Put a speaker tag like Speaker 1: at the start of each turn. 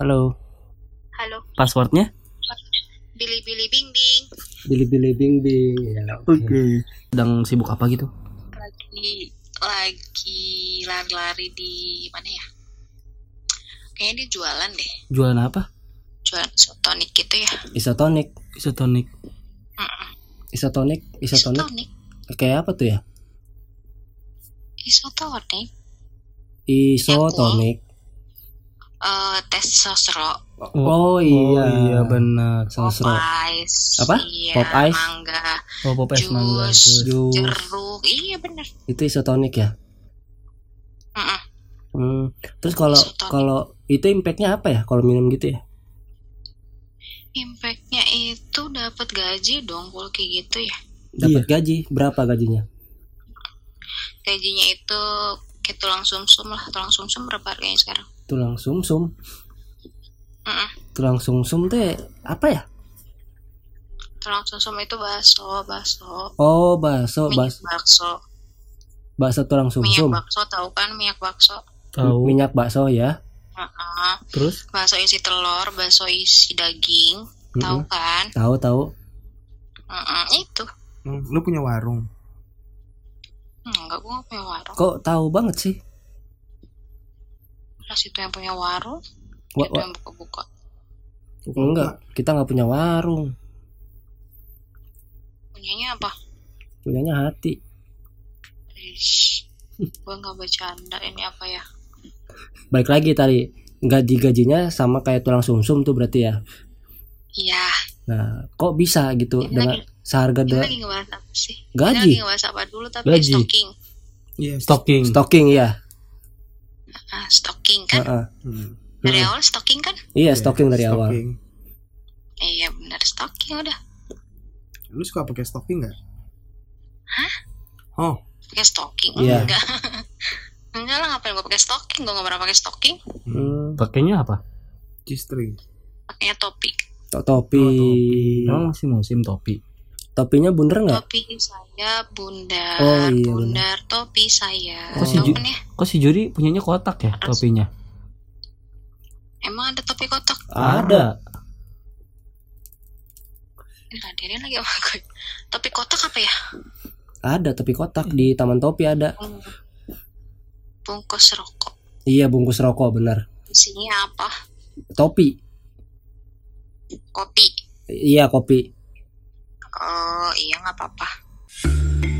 Speaker 1: Halo.
Speaker 2: Halo,
Speaker 1: Passwordnya?
Speaker 2: Billy Billy Bing Bing.
Speaker 3: Bili-bili bing-bing. Ya, oke.
Speaker 1: Sedang sibuk apa gitu?
Speaker 2: Lagi lagi lari-lari di mana ya? Kayaknya dia jualan deh.
Speaker 1: Jualan apa?
Speaker 2: Jualan isotonik gitu ya.
Speaker 3: Isotonik,
Speaker 1: Isotonik.
Speaker 2: Mm-mm.
Speaker 3: isotonik, isotonik.
Speaker 2: Isotonik.
Speaker 3: Kayak apa tuh ya?
Speaker 2: Isotonik.
Speaker 3: Isotonik.
Speaker 2: Eh, tes sosro.
Speaker 3: Oh, iya.
Speaker 1: iya benar.
Speaker 3: Oh, Sosro.
Speaker 2: Ice.
Speaker 3: Apa?
Speaker 2: Iya,
Speaker 3: Pop ice?
Speaker 2: Mangga.
Speaker 1: Oh, pop es mangga
Speaker 2: Jus.
Speaker 1: jus.
Speaker 3: Jus.
Speaker 2: Jeruk. Iya bener.
Speaker 3: Itu isotonik ya?
Speaker 2: Mm-mm.
Speaker 3: Hmm. Terus kalau
Speaker 2: Isotonik.
Speaker 3: kalau itu impactnya apa ya kalau minum gitu ya?
Speaker 2: Impactnya itu dapat gaji dong kalau kayak gitu ya.
Speaker 1: Iya.
Speaker 3: Dapat gaji, berapa gajinya?
Speaker 2: Gajinya itu kayak tulang sumsum lah. Tulang sumsum berapa harganya sekarang?
Speaker 3: Tulang sumsum.
Speaker 2: Mm-mm.
Speaker 3: Tulang sumsum teh apa ya?
Speaker 2: Tulang sumsum itu bakso, bakso.
Speaker 3: Oh, bakso, bas,
Speaker 2: Minyak bakso.
Speaker 3: bakso tulang
Speaker 2: Minyak
Speaker 3: sumsum.
Speaker 2: bakso tahu kan minyak bakso?
Speaker 1: Tahu.
Speaker 3: Minyak bakso ya.
Speaker 2: Heeh.
Speaker 1: Terus
Speaker 2: Bakso isi telur, bakso isi daging, tahu kan?
Speaker 3: Tahu tahu.
Speaker 2: Heeh, itu.
Speaker 4: Hmm, lu punya warung
Speaker 2: Enggak, gua nggak punya warung.
Speaker 3: Kok tahu banget sih?
Speaker 2: Ras itu yang punya warung,
Speaker 3: Wa-
Speaker 2: itu
Speaker 3: wa-
Speaker 2: yang buka-buka.
Speaker 3: enggak, kita nggak punya warung.
Speaker 2: Punyanya apa?
Speaker 3: Punyanya hati.
Speaker 2: Ish. Gua nggak bercanda ini apa ya?
Speaker 3: Baik lagi tadi gaji gajinya sama kayak tulang sumsum tuh berarti ya.
Speaker 2: Iya,
Speaker 3: Nah, kok bisa gitu
Speaker 2: Ini
Speaker 3: dengan seharga
Speaker 2: ini
Speaker 3: dengan
Speaker 2: lagi ngebahas apa sih? Ini lagi
Speaker 3: gaji
Speaker 2: ngebahas apa dulu tapi
Speaker 1: Gaji.
Speaker 2: stocking.
Speaker 4: iya
Speaker 1: stocking.
Speaker 3: stocking ya.
Speaker 2: Ah, stocking kan?
Speaker 3: Heeh.
Speaker 4: Hmm.
Speaker 2: Dari awal stocking kan?
Speaker 3: Iya,
Speaker 4: Iya,
Speaker 3: stocking dari awal.
Speaker 4: stocking.
Speaker 2: Iya, benar stocking udah.
Speaker 4: lu suka pakai stocking nggak Hah? oh
Speaker 2: pakai stocking
Speaker 3: Iya.
Speaker 2: enggak enggak lah ngapain gue pakai stocking gue nggak pernah pakai stocking
Speaker 3: Hmm,
Speaker 1: Pakainya apa?
Speaker 4: G-string
Speaker 2: pakainya topi
Speaker 3: to- topi. Iya.
Speaker 1: Emang masih musim topi.
Speaker 3: Topinya bundar nggak?
Speaker 2: topi saya bundar
Speaker 3: Oh, iya, benar.
Speaker 2: bundar topi saya oh,
Speaker 1: Kok si Ju-
Speaker 2: ya
Speaker 1: Kok si Juri punyanya kotak ya topinya?
Speaker 2: emang ada topi kotak
Speaker 1: Ada.
Speaker 2: Eh, ngadirin lagi sama gue topi kotak apa ya
Speaker 3: Ada topi kotak di Taman Topi ada.
Speaker 2: Hmm. bungkus rokok
Speaker 3: Iya, bungkus rokok benar.
Speaker 2: isinya apa
Speaker 3: Topi.
Speaker 2: kopi
Speaker 3: Iya, kopi.
Speaker 2: oh iya nggak apa-apa